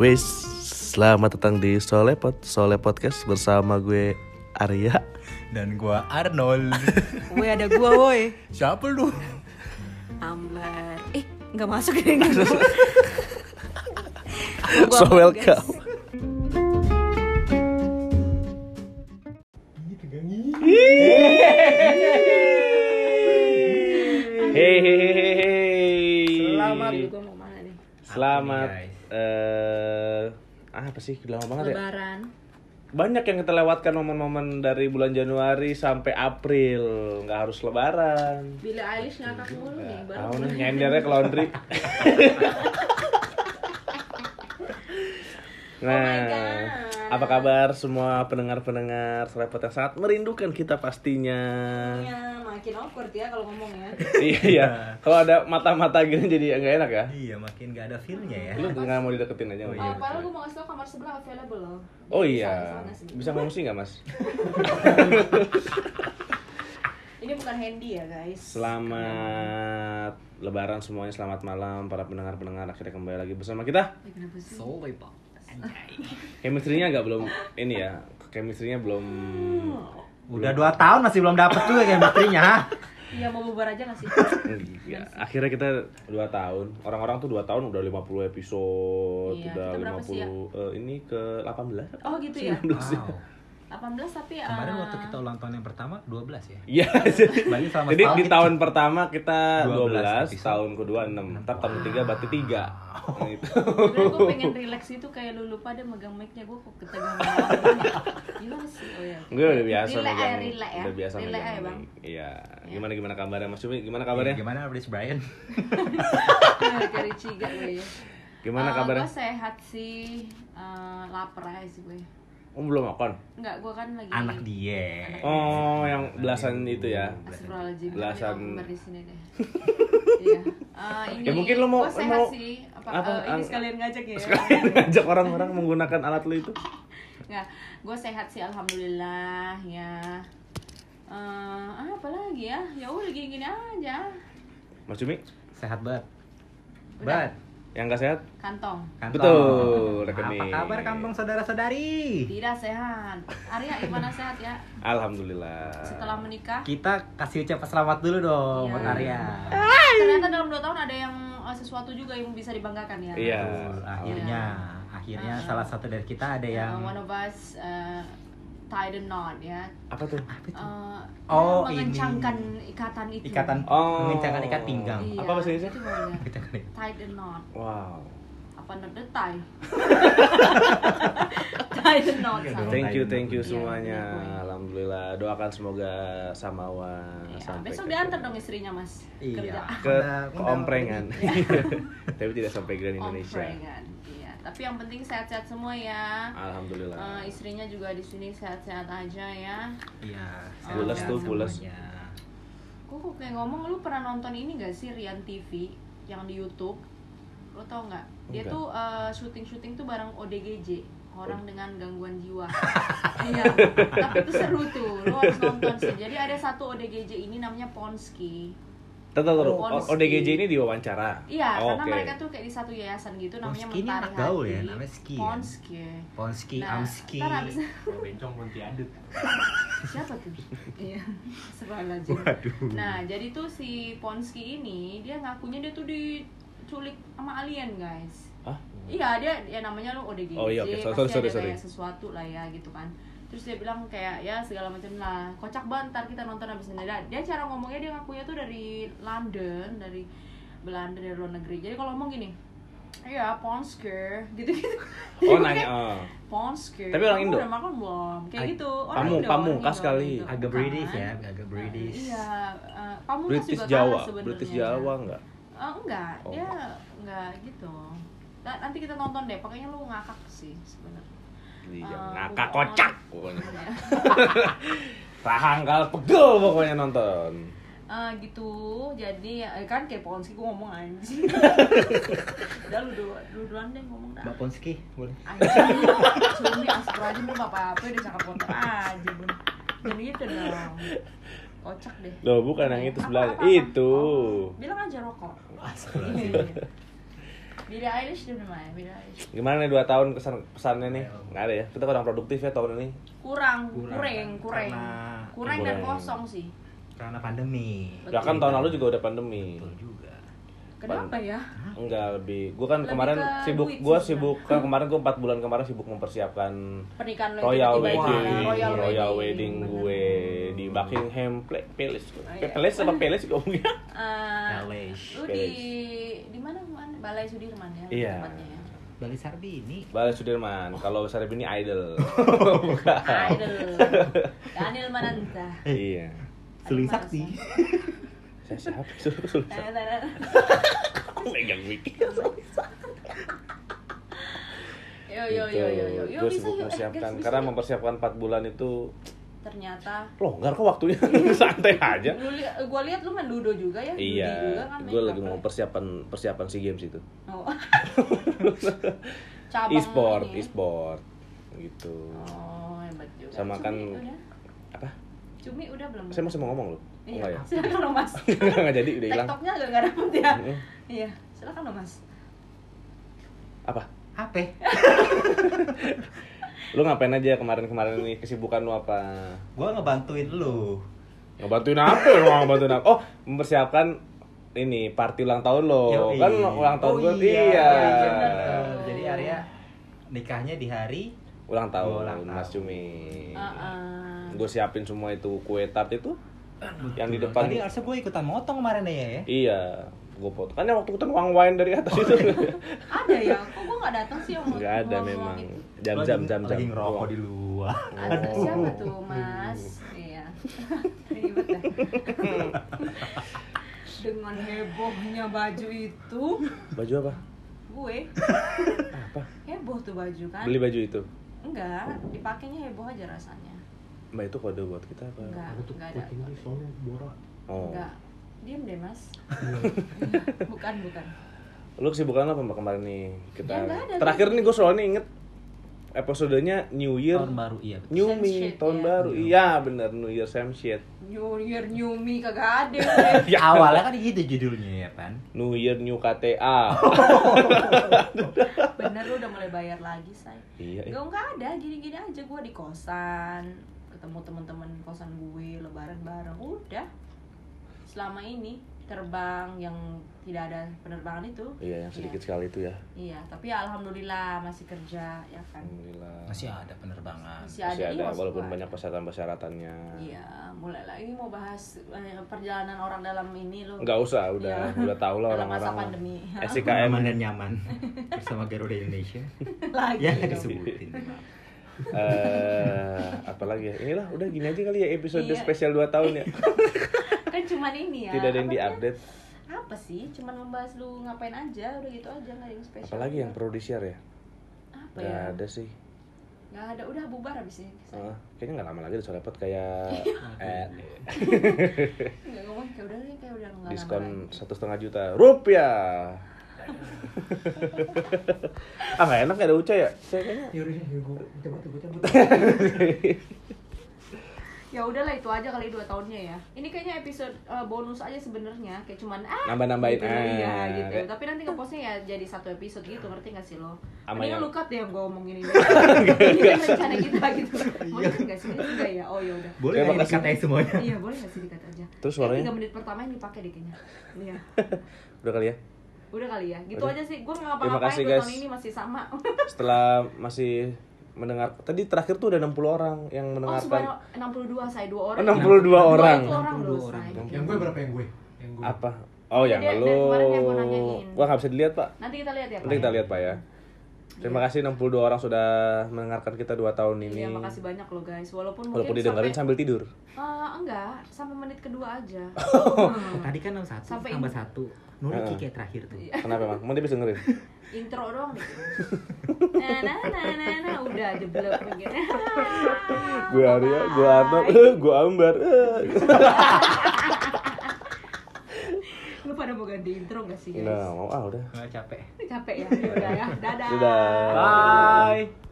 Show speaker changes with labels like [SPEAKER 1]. [SPEAKER 1] Wes, selamat datang di Solepot, Sole Podcast bersama gue Arya.
[SPEAKER 2] dan gua Arnold.
[SPEAKER 3] Woi ada gua woi.
[SPEAKER 2] Siapa lu?
[SPEAKER 3] Ambar. Eh, nggak masuk ya enggak.
[SPEAKER 1] So welcome. Hey, hey, hey, hey, hey.
[SPEAKER 3] Selamat gua mau mana nih?
[SPEAKER 1] Selamat.
[SPEAKER 2] Apa nih,
[SPEAKER 1] Eh, apa sih lama banget ya?
[SPEAKER 3] Lebaran.
[SPEAKER 1] Banyak yang kita lewatkan momen-momen dari bulan Januari sampai April, nggak harus Lebaran.
[SPEAKER 3] Bila Ailis ngakak mulu nih, baru
[SPEAKER 1] Tahu nih nyendernya ke laundry. nah,
[SPEAKER 3] God.
[SPEAKER 1] apa kabar semua pendengar-pendengar serapot yang sangat merindukan kita pastinya.
[SPEAKER 3] Ya, makin awkward ya kalau ngomong ya.
[SPEAKER 1] iya, iya. Kalau ada mata-mata gini jadi nggak enak ya.
[SPEAKER 2] Iya, makin gak ada feel-nya ya.
[SPEAKER 1] Lu nggak mau dideketin aja.
[SPEAKER 2] Oh,
[SPEAKER 1] Mas?
[SPEAKER 2] iya.
[SPEAKER 3] Oh, padahal gua mau ngasih tau kamar sebelah available loh.
[SPEAKER 1] Oh
[SPEAKER 3] Di
[SPEAKER 1] iya.
[SPEAKER 3] sana-sana sih.
[SPEAKER 1] Bisa ngomong sih nggak mas?
[SPEAKER 3] Ini bukan handy ya, guys.
[SPEAKER 1] Selamat Lebaran semuanya, selamat malam para pendengar-pendengar akhirnya kembali lagi bersama kita.
[SPEAKER 3] Eh, kenapa sih?
[SPEAKER 2] Sorry, Pak.
[SPEAKER 1] Chemistry-nya agak belum ini ya. Chemistry-nya belum
[SPEAKER 2] Udah 2 tahun masih belum dapet juga chemistry-nya. ha?
[SPEAKER 3] Iya, mau bubar aja nggak sih?
[SPEAKER 1] Iya, akhirnya kita 2 tahun. Orang-orang tuh 2 tahun udah 50 episode,
[SPEAKER 3] Iya,
[SPEAKER 1] udah
[SPEAKER 3] kita berapa
[SPEAKER 1] 50
[SPEAKER 3] sih ya?
[SPEAKER 1] eh, ini ke 18.
[SPEAKER 3] Oh, gitu ya.
[SPEAKER 2] Wow.
[SPEAKER 3] 18 tapi ah,
[SPEAKER 2] Kemarin waktu kita ulang tahun yang pertama 12 ya.
[SPEAKER 1] Iya.
[SPEAKER 2] Berarti selama
[SPEAKER 1] Jadi
[SPEAKER 2] setahun
[SPEAKER 1] di
[SPEAKER 2] kita-
[SPEAKER 1] tahun pertama kita
[SPEAKER 2] 12,
[SPEAKER 1] 12, tahun kedua 6, ntar tahun ketiga berarti 3. Nah, itu.
[SPEAKER 3] Sebenernya gue pengen relax itu kayak lu lupa deh megang mic-nya gue kok ketegangan banget. Gimana sih? Oh ya.
[SPEAKER 1] Gue udah biasa
[SPEAKER 3] Relax ya,
[SPEAKER 1] megang-
[SPEAKER 3] relax ya.
[SPEAKER 1] Udah biasa
[SPEAKER 3] Relax
[SPEAKER 1] megang
[SPEAKER 3] ya, Bang.
[SPEAKER 1] mic. Iya. Gimana gimana kabarnya Mas Yumi? Gimana kabarnya?
[SPEAKER 2] Iya, Gimana Rich Brian?
[SPEAKER 3] Cari ciga gue ya.
[SPEAKER 1] Gimana kabarnya?
[SPEAKER 3] Gue sehat sih. Eh, lapar aja sih gue.
[SPEAKER 1] Oh, belum makan.
[SPEAKER 3] Enggak, gue kan lagi
[SPEAKER 2] Anak dia.
[SPEAKER 1] Oh, yang belasan itu ya.
[SPEAKER 3] Astagfirullahaladzim,
[SPEAKER 1] Belasan.
[SPEAKER 3] ini nomor di sini deh. Iya. Eh, ini
[SPEAKER 1] Ya, mungkin lu mau-
[SPEAKER 3] gue sehat
[SPEAKER 1] mau-
[SPEAKER 3] sih. Apa,
[SPEAKER 1] apa,
[SPEAKER 3] eh, ini
[SPEAKER 1] ang-
[SPEAKER 3] sekalian ngajak ya.
[SPEAKER 1] Ngajak orang-orang menggunakan alat lu itu.
[SPEAKER 3] Nggak, gue sehat sih alhamdulillah ya. Eh, ah, apa lagi ya? Ya udah gini-gini aja.
[SPEAKER 1] Mas Yumi,
[SPEAKER 2] Sehat banget.
[SPEAKER 3] Udah.
[SPEAKER 2] Banget.
[SPEAKER 1] yang gak sehat?
[SPEAKER 3] Kantong.
[SPEAKER 2] Kantong.
[SPEAKER 1] Betul, rekening.
[SPEAKER 2] Apa kabar kampung saudara-saudari?
[SPEAKER 3] Tidak sehat. Arya gimana sehat ya?
[SPEAKER 1] Alhamdulillah.
[SPEAKER 3] Setelah menikah.
[SPEAKER 2] Kita kasih ucapan selamat dulu dong
[SPEAKER 3] Iya.
[SPEAKER 2] buat Arya.
[SPEAKER 1] Ah.
[SPEAKER 3] Ternyata dalam 2 tahun ada yang eh, sesuatu juga yang bisa dibanggakan ya.
[SPEAKER 1] Iya.
[SPEAKER 2] Betul, akhirnya akhirnya
[SPEAKER 3] Ah.
[SPEAKER 2] salah satu dari kita ada
[SPEAKER 3] Eh,
[SPEAKER 2] yang
[SPEAKER 3] one of us eh, tied a knot ya.
[SPEAKER 1] Apa tuh?
[SPEAKER 3] Eh,
[SPEAKER 2] Oh,
[SPEAKER 3] ya, mengencangkan ikatan itu.
[SPEAKER 2] ikatan
[SPEAKER 1] Oh.
[SPEAKER 2] mengencangkan ikat pinggang.
[SPEAKER 3] Iya,
[SPEAKER 1] Apa bahasa Indonesia?
[SPEAKER 3] itu bahasa.
[SPEAKER 2] Kita kali.
[SPEAKER 3] Tied a knot.
[SPEAKER 1] Wow.
[SPEAKER 3] Apa nerdetai? Tied a knot.
[SPEAKER 2] Iya
[SPEAKER 3] sama.
[SPEAKER 2] dong.
[SPEAKER 1] Thank you, thank you
[SPEAKER 3] Iya,
[SPEAKER 1] semuanya.
[SPEAKER 3] benar, Bu.
[SPEAKER 1] Alhamdulillah. Doakan semoga samawa
[SPEAKER 3] Iya,
[SPEAKER 1] sampai
[SPEAKER 3] besok
[SPEAKER 1] ke-
[SPEAKER 3] diantar dong istrinya mas kerja
[SPEAKER 2] Iya.
[SPEAKER 1] ke
[SPEAKER 2] Undang-
[SPEAKER 1] ke
[SPEAKER 2] undang-
[SPEAKER 1] omprengan. Tapi tidak sampai Grand Indonesia.
[SPEAKER 3] omprengan iya tapi yang penting sehat-sehat semua ya
[SPEAKER 1] Alhamdulillah.
[SPEAKER 3] Eh, istrinya juga di sini sehat-sehat aja ya
[SPEAKER 2] Iya.
[SPEAKER 1] Pules
[SPEAKER 2] sehat
[SPEAKER 1] tuh, pules.
[SPEAKER 2] semuanya.
[SPEAKER 3] Gua kok kayak ngomong lu pernah nonton ini gak sih Rian TV yang di YouTube lo tau nggak dia
[SPEAKER 1] Enggak.
[SPEAKER 3] tuh syuting syuting tuh bareng ODGJ orang dengan gangguan jiwa iya tapi itu seru tuh lo harus nonton sih jadi ada satu ODGJ ini namanya Ponski
[SPEAKER 1] Tahu tahu tahu.
[SPEAKER 3] Bonus
[SPEAKER 1] O- ODGJ
[SPEAKER 3] di-
[SPEAKER 1] ini diwawancara.
[SPEAKER 3] Iya,
[SPEAKER 1] Oh,
[SPEAKER 3] karena
[SPEAKER 1] oke.
[SPEAKER 3] mereka tuh kayak di satu yayasan gitu namanya
[SPEAKER 2] Ponski ini anak
[SPEAKER 3] Mentari
[SPEAKER 2] gaul
[SPEAKER 3] Hati.
[SPEAKER 2] ya, namanya Ski ya?
[SPEAKER 3] Ponski.
[SPEAKER 2] Ponski,
[SPEAKER 3] Nah,
[SPEAKER 2] Amski.
[SPEAKER 3] ntar habis-
[SPEAKER 2] Bencong Pontiadut.
[SPEAKER 3] Siapa tuh? Iya. Astagfirullahaladzim.
[SPEAKER 2] Waduh.
[SPEAKER 3] Nah, jadi tuh si Ponski ini dia ngakunya dia tuh diculik sama alien, guys.
[SPEAKER 1] Hah?
[SPEAKER 3] Iya, dia ya namanya lo ODGJ,
[SPEAKER 1] Oh, iya, oke. So-
[SPEAKER 3] pasti
[SPEAKER 1] sorry,
[SPEAKER 3] ada
[SPEAKER 1] sorry,
[SPEAKER 3] kayak sesuatu lah ya gitu kan. Terus dia bilang kayak ya segala macam lah. Kocak banget ntar kita nonton habis ini. Dan Dia cara ngomongnya dia ngakunya tuh dari London, dari Belanda dari luar negeri. Jadi kalau ngomong gini, Iya, Ponsker, gitu-gitu.
[SPEAKER 1] Oh nanya. oh.
[SPEAKER 3] Ponsker.
[SPEAKER 1] Tapi orang Indo?
[SPEAKER 3] Udah makan belum? Kayak
[SPEAKER 2] Ag-
[SPEAKER 3] gitu.
[SPEAKER 1] Pamu-
[SPEAKER 3] Indo, orang
[SPEAKER 1] pamungkas
[SPEAKER 3] Indo,
[SPEAKER 1] kali.
[SPEAKER 3] gitu.
[SPEAKER 2] Agak British
[SPEAKER 3] Kan?
[SPEAKER 2] ya, agak British.
[SPEAKER 3] Eh, Iya, eh, pamungkas
[SPEAKER 1] British
[SPEAKER 3] juga
[SPEAKER 1] Jawa.
[SPEAKER 3] kalah sebenarnya.
[SPEAKER 1] British Jawa enggak?
[SPEAKER 3] Eh, enggak,
[SPEAKER 1] Oh.
[SPEAKER 3] dia enggak gitu. Nah, nanti kita nonton deh, pokoknya lu ngakak sih sebenarnya. Eh,
[SPEAKER 1] Iya, ngakak
[SPEAKER 3] bukan.
[SPEAKER 1] kocak pokoknya.
[SPEAKER 3] Iya.
[SPEAKER 1] Rahangkal pegel pokoknya nonton.
[SPEAKER 3] Eh, gitu, jadi eh, kan kayak Ponski gue ngomong anjing. Udah lu dulu, lu duluan deh ngomong dah.
[SPEAKER 2] Mbak Ponski, boleh.
[SPEAKER 3] Anjing, cumi aspro aja lu gak apa-apa udah cakap kotor aja bun Jangan gitu dong Kocak deh
[SPEAKER 1] Loh, bukan yang itu
[SPEAKER 3] Apa,
[SPEAKER 1] sebelahnya.
[SPEAKER 3] apa, apa?
[SPEAKER 1] Itu.
[SPEAKER 3] Oh, Bilang aja rokok
[SPEAKER 2] Astagfirullahaladzim.
[SPEAKER 3] Iya, iya. Billie Eilish dia bener ya Billie Eilish
[SPEAKER 1] Gimana nih dua tahun kesan pesannya nih? Nggak ada ya. Kita kurang produktif ya tahun ini.
[SPEAKER 3] kurang
[SPEAKER 2] Kurang, kan?
[SPEAKER 3] kurang kurang
[SPEAKER 2] karena-
[SPEAKER 3] kurang dan
[SPEAKER 1] Kurang.
[SPEAKER 3] kosong sih
[SPEAKER 2] karena pandemi
[SPEAKER 1] Bahkan Ya, kan tahun lalu juga udah pandemi.
[SPEAKER 2] betul juga
[SPEAKER 3] kenapa ya
[SPEAKER 1] Enggak lebih. Gua kan
[SPEAKER 3] Lebih
[SPEAKER 1] kemarin
[SPEAKER 3] ke
[SPEAKER 1] sibuk,
[SPEAKER 3] duit
[SPEAKER 1] gua
[SPEAKER 3] sih
[SPEAKER 1] sibuk kan kemarin gua 4 bulan kemarin sibuk mempersiapkan
[SPEAKER 3] pernikahan lo
[SPEAKER 1] Royal
[SPEAKER 3] tiba-tiba
[SPEAKER 1] wedding,
[SPEAKER 3] aja. kan,
[SPEAKER 1] royal,
[SPEAKER 3] royal,
[SPEAKER 1] wedding,
[SPEAKER 3] bener.
[SPEAKER 1] gue di Buckingham Pla- Palace,
[SPEAKER 3] iya.
[SPEAKER 1] Palace apa Palace gue ngomongnya?
[SPEAKER 3] Eh,
[SPEAKER 2] Palace.
[SPEAKER 3] lu di di mana kemarin? Balai Sudirman ya
[SPEAKER 1] Iya.
[SPEAKER 3] tempatnya ya.
[SPEAKER 2] Bali Sarbi ini
[SPEAKER 1] Balai Sudirman. Kalau Sarip ini idol. Bukan.
[SPEAKER 3] Idol. Daniel Mananta.
[SPEAKER 1] iya.
[SPEAKER 2] Suling Sakti
[SPEAKER 1] Saya siapa? Suruh suruh.
[SPEAKER 3] Tara, tara.
[SPEAKER 1] Aku megang mic.
[SPEAKER 3] Yo yo
[SPEAKER 1] Gitu.
[SPEAKER 3] yo yo yo. Yo iya,
[SPEAKER 1] Gue
[SPEAKER 3] bisa
[SPEAKER 1] sibuk
[SPEAKER 3] yo. Eh,
[SPEAKER 1] mempersiapkan
[SPEAKER 3] guys,
[SPEAKER 1] karena
[SPEAKER 3] bisa, yo.
[SPEAKER 1] mempersiapkan 4 bulan itu
[SPEAKER 3] ternyata
[SPEAKER 1] longgar kok waktunya. Santai aja.
[SPEAKER 3] lu li- gua lihat lu main ludo juga ya. judi juga
[SPEAKER 1] Ya. Iya,
[SPEAKER 3] kan,
[SPEAKER 1] gue
[SPEAKER 3] main
[SPEAKER 1] lagi
[SPEAKER 3] apa?
[SPEAKER 1] mau persiapan persiapan si games itu.
[SPEAKER 3] Oh. Cabang
[SPEAKER 1] E-sport,
[SPEAKER 3] ini.
[SPEAKER 1] e-sport, gitu.
[SPEAKER 3] Oh, hebat juga.
[SPEAKER 1] Sama
[SPEAKER 3] Cumi
[SPEAKER 1] kan-
[SPEAKER 3] udah?
[SPEAKER 1] Apa?
[SPEAKER 3] Cumi udah belum?
[SPEAKER 1] Saya masih mau ngomong loh.
[SPEAKER 3] Iya,
[SPEAKER 1] Enggak ya?
[SPEAKER 3] silakan lo Mas.
[SPEAKER 1] Enggak jadi, udah hilang.
[SPEAKER 3] TikToknya agak nggak dapet ya.
[SPEAKER 1] Mm-mm.
[SPEAKER 3] Iya, silakan lo Mas.
[SPEAKER 1] Apa?
[SPEAKER 2] apa
[SPEAKER 1] Lu ngapain aja kemarin-kemarin ini kesibukan lu apa?
[SPEAKER 2] gua ngebantuin lu
[SPEAKER 1] Ngebantuin apa ya? Lu ngebantuin apa? Oh, mempersiapkan ini party ulang tahun lo.
[SPEAKER 2] Yoi.
[SPEAKER 1] Kan ulang tahun
[SPEAKER 2] Oh
[SPEAKER 1] gue
[SPEAKER 2] iya,
[SPEAKER 1] iya.
[SPEAKER 2] iya, bener. jadi Arya nikahnya di hari
[SPEAKER 1] Ulang tahun,
[SPEAKER 2] Gua Oh, ulang
[SPEAKER 1] Mas
[SPEAKER 2] tahun.
[SPEAKER 1] Cumi.
[SPEAKER 3] Ah, Heeh.
[SPEAKER 1] Gue siapin semua itu kue tart itu. Yang di depan.
[SPEAKER 2] tadi harusnya gue ikutan motong kemarin ya ya
[SPEAKER 1] Iya, gue foto. Kan yang waktu kita wang wine dari atas itu.
[SPEAKER 3] ada ya kok gue nggak datang sih yang waktu
[SPEAKER 1] Enggak ada
[SPEAKER 3] ngomong
[SPEAKER 1] memang.
[SPEAKER 3] itu?
[SPEAKER 1] Jam jam jam jam.
[SPEAKER 2] lagi ngerokok di luar
[SPEAKER 3] ada
[SPEAKER 1] Oh.
[SPEAKER 3] siapa tuh mas iya ribet dah dengan hebohnya baju itu
[SPEAKER 1] Baju apa?
[SPEAKER 3] gue
[SPEAKER 1] Apa?
[SPEAKER 3] heboh tuh baju kan
[SPEAKER 1] Beli baju itu.
[SPEAKER 3] enggak dipakainya heboh aja rasanya
[SPEAKER 1] Mbak itu kode buat kita apa?
[SPEAKER 3] enggak enggak ada
[SPEAKER 1] Oh. Iya.
[SPEAKER 3] enggak diem deh mas bukan bukan
[SPEAKER 1] Lu kesibukan apa mbak kemarin nih? Kita
[SPEAKER 3] Ya, nggak ada.
[SPEAKER 1] terakhir nih gue soalnya inget episodenya New Year,
[SPEAKER 2] tahun baru iya betul.
[SPEAKER 1] New
[SPEAKER 3] Same
[SPEAKER 1] Me,
[SPEAKER 3] shit,
[SPEAKER 1] tahun
[SPEAKER 3] ya.
[SPEAKER 1] baru. Iya bener New Year same shit.
[SPEAKER 3] new year new me kagak ada
[SPEAKER 1] Ya.
[SPEAKER 2] awalnya kan gitu judulnya ya kan
[SPEAKER 1] New Year New KTA.
[SPEAKER 3] bener lu udah mulai bayar lagi say
[SPEAKER 1] iya. iya.
[SPEAKER 3] Gak nggak ada, gini-gini aja gue di kosan ketemu teman-teman kosan gue lebaran bareng udah selama ini terbang yang tidak ada penerbangan itu
[SPEAKER 1] Iya yang sedikit sekali itu ya.
[SPEAKER 3] iya tapi ya alhamdulillah masih kerja ya kan
[SPEAKER 1] Alhamdulillah.
[SPEAKER 2] masih ada penerbangan
[SPEAKER 3] masih ada,
[SPEAKER 1] Masih
[SPEAKER 3] iya,
[SPEAKER 1] ada
[SPEAKER 3] maksud
[SPEAKER 1] walaupun
[SPEAKER 3] gua
[SPEAKER 1] banyak
[SPEAKER 3] ada.
[SPEAKER 1] persyaratan-persyaratannya.
[SPEAKER 3] iya mulai lagi mau bahas eh, perjalanan orang dalam ini lo
[SPEAKER 1] Enggak usah, udah
[SPEAKER 3] Iya.
[SPEAKER 1] udah tau lah
[SPEAKER 3] Dalam masa
[SPEAKER 1] orang-orang. lah.
[SPEAKER 3] pandemi.
[SPEAKER 1] SIKM
[SPEAKER 2] Aman dan nyaman bersama Garuda Indonesia
[SPEAKER 3] lagi
[SPEAKER 1] Iya,
[SPEAKER 2] yang
[SPEAKER 3] dong.
[SPEAKER 2] disebutin
[SPEAKER 1] eh apalagi ya? Inilah udah gini aja kali ya episode
[SPEAKER 3] Iya.
[SPEAKER 1] spesial 2 tahun ya.
[SPEAKER 3] kan cuman ini ya
[SPEAKER 1] Tidak ada yang
[SPEAKER 3] apa sih?
[SPEAKER 1] diupdate.
[SPEAKER 3] apa sih cuman membahas lu ngapain aja udah gitu aja nggak ada yang spesial
[SPEAKER 1] Apalagi yang perlu di share ya?
[SPEAKER 3] apa
[SPEAKER 1] Gak
[SPEAKER 3] ya
[SPEAKER 1] ada Ah. sih.
[SPEAKER 3] nggak ada udah bubar abis ini saya.
[SPEAKER 1] Heeh. kayaknya nggak lama lagi udah dapat kayak
[SPEAKER 3] Iya.
[SPEAKER 1] eh,
[SPEAKER 3] Nggak ngomong kayak udah nih kayak udah nggak
[SPEAKER 1] diskon satu setengah juta rupiah. ah nggak enak nggak ada uca ya? Saya kayaknya
[SPEAKER 2] Yaudah, yaudah, cabut, cabut, cabut.
[SPEAKER 3] Ya udahlah itu aja kali dua tahunnya ya. Ini kayaknya episode eh, bonus aja sebenarnya kayak cuman ah
[SPEAKER 1] Nambah-nambahin,
[SPEAKER 3] gitu, Iya
[SPEAKER 1] ah,
[SPEAKER 3] gitu.
[SPEAKER 1] kayak-
[SPEAKER 3] Tapi nanti ngepostnya ya jadi satu episode gitu ngerti gak sih lo?
[SPEAKER 1] Sama ya?
[SPEAKER 3] Mendingan
[SPEAKER 1] yang-
[SPEAKER 3] lu cut deh yang gue omongin ini. ini kan rencana kita gitu.
[SPEAKER 1] Iya.
[SPEAKER 3] Boleh kan gak sih? Ini enggak ya? Oh ya udah.
[SPEAKER 2] Boleh
[SPEAKER 1] Terima
[SPEAKER 2] nggak ini
[SPEAKER 1] kasih.
[SPEAKER 2] dikatain semuanya?
[SPEAKER 3] Iya boleh gak sih dikat aja.
[SPEAKER 1] Terus suaranya?
[SPEAKER 3] Tiga menit pertama yang dipakai deh kayaknya. Iya.
[SPEAKER 1] udah kali ya.
[SPEAKER 3] Udah kali ya. Gitu
[SPEAKER 1] Udah.
[SPEAKER 3] aja sih. Gue nggak
[SPEAKER 1] Terima
[SPEAKER 3] ngapa-ngapain
[SPEAKER 1] kasih,
[SPEAKER 3] tuh tahun
[SPEAKER 1] guys.
[SPEAKER 3] ini masih sama.
[SPEAKER 1] Setelah masih mendengar tadi terakhir tuh udah 60 orang
[SPEAKER 3] Oh
[SPEAKER 1] yang mendengarkan.
[SPEAKER 3] sebenarnya 62 saya dua orang.
[SPEAKER 1] 62 orang.
[SPEAKER 3] Dua orang loh Shay.
[SPEAKER 4] Yang gue berapa yang gue? Yang gue.
[SPEAKER 1] apa? Oh yang
[SPEAKER 3] Dari- dari
[SPEAKER 1] lu.
[SPEAKER 3] kemarin yang gua nanyain.
[SPEAKER 1] Gua nggak bisa dilihat, Pak.
[SPEAKER 3] Nanti kita lihat ya.
[SPEAKER 1] Nanti
[SPEAKER 3] Pak,
[SPEAKER 1] kita
[SPEAKER 3] ya.
[SPEAKER 1] lihat Pak ya. Terima kasih 62 orang sudah mendengarkan kita 2 tahun ini.
[SPEAKER 3] Iya, makasih banyak loh guys. Walaupun
[SPEAKER 1] Walaupun
[SPEAKER 3] mungkin
[SPEAKER 1] didengerin
[SPEAKER 3] sampai,
[SPEAKER 1] sambil tidur.
[SPEAKER 3] Ah, enggak, sampai menit kedua aja.
[SPEAKER 1] Oh.
[SPEAKER 2] Tadi kan 61
[SPEAKER 3] Sampai
[SPEAKER 2] tambah
[SPEAKER 3] ini.
[SPEAKER 2] 1. Nuri Kiki kayak terakhir tuh.
[SPEAKER 1] Kenapa emang? Mau dia bisa dengerin?
[SPEAKER 3] Intro doang deh. Nah, nah, nah, nah, nah, udah jeblok begini.
[SPEAKER 1] gue Arya, gue Arnold, gue Ambar.
[SPEAKER 3] Lu pada mau ganti intro gak sih, guys?
[SPEAKER 1] Nah, mau ah Nah, udah.
[SPEAKER 2] Nggak capek.
[SPEAKER 3] Capek ya. Yaudah ya. Dadah.
[SPEAKER 1] Dadah.
[SPEAKER 2] Bye.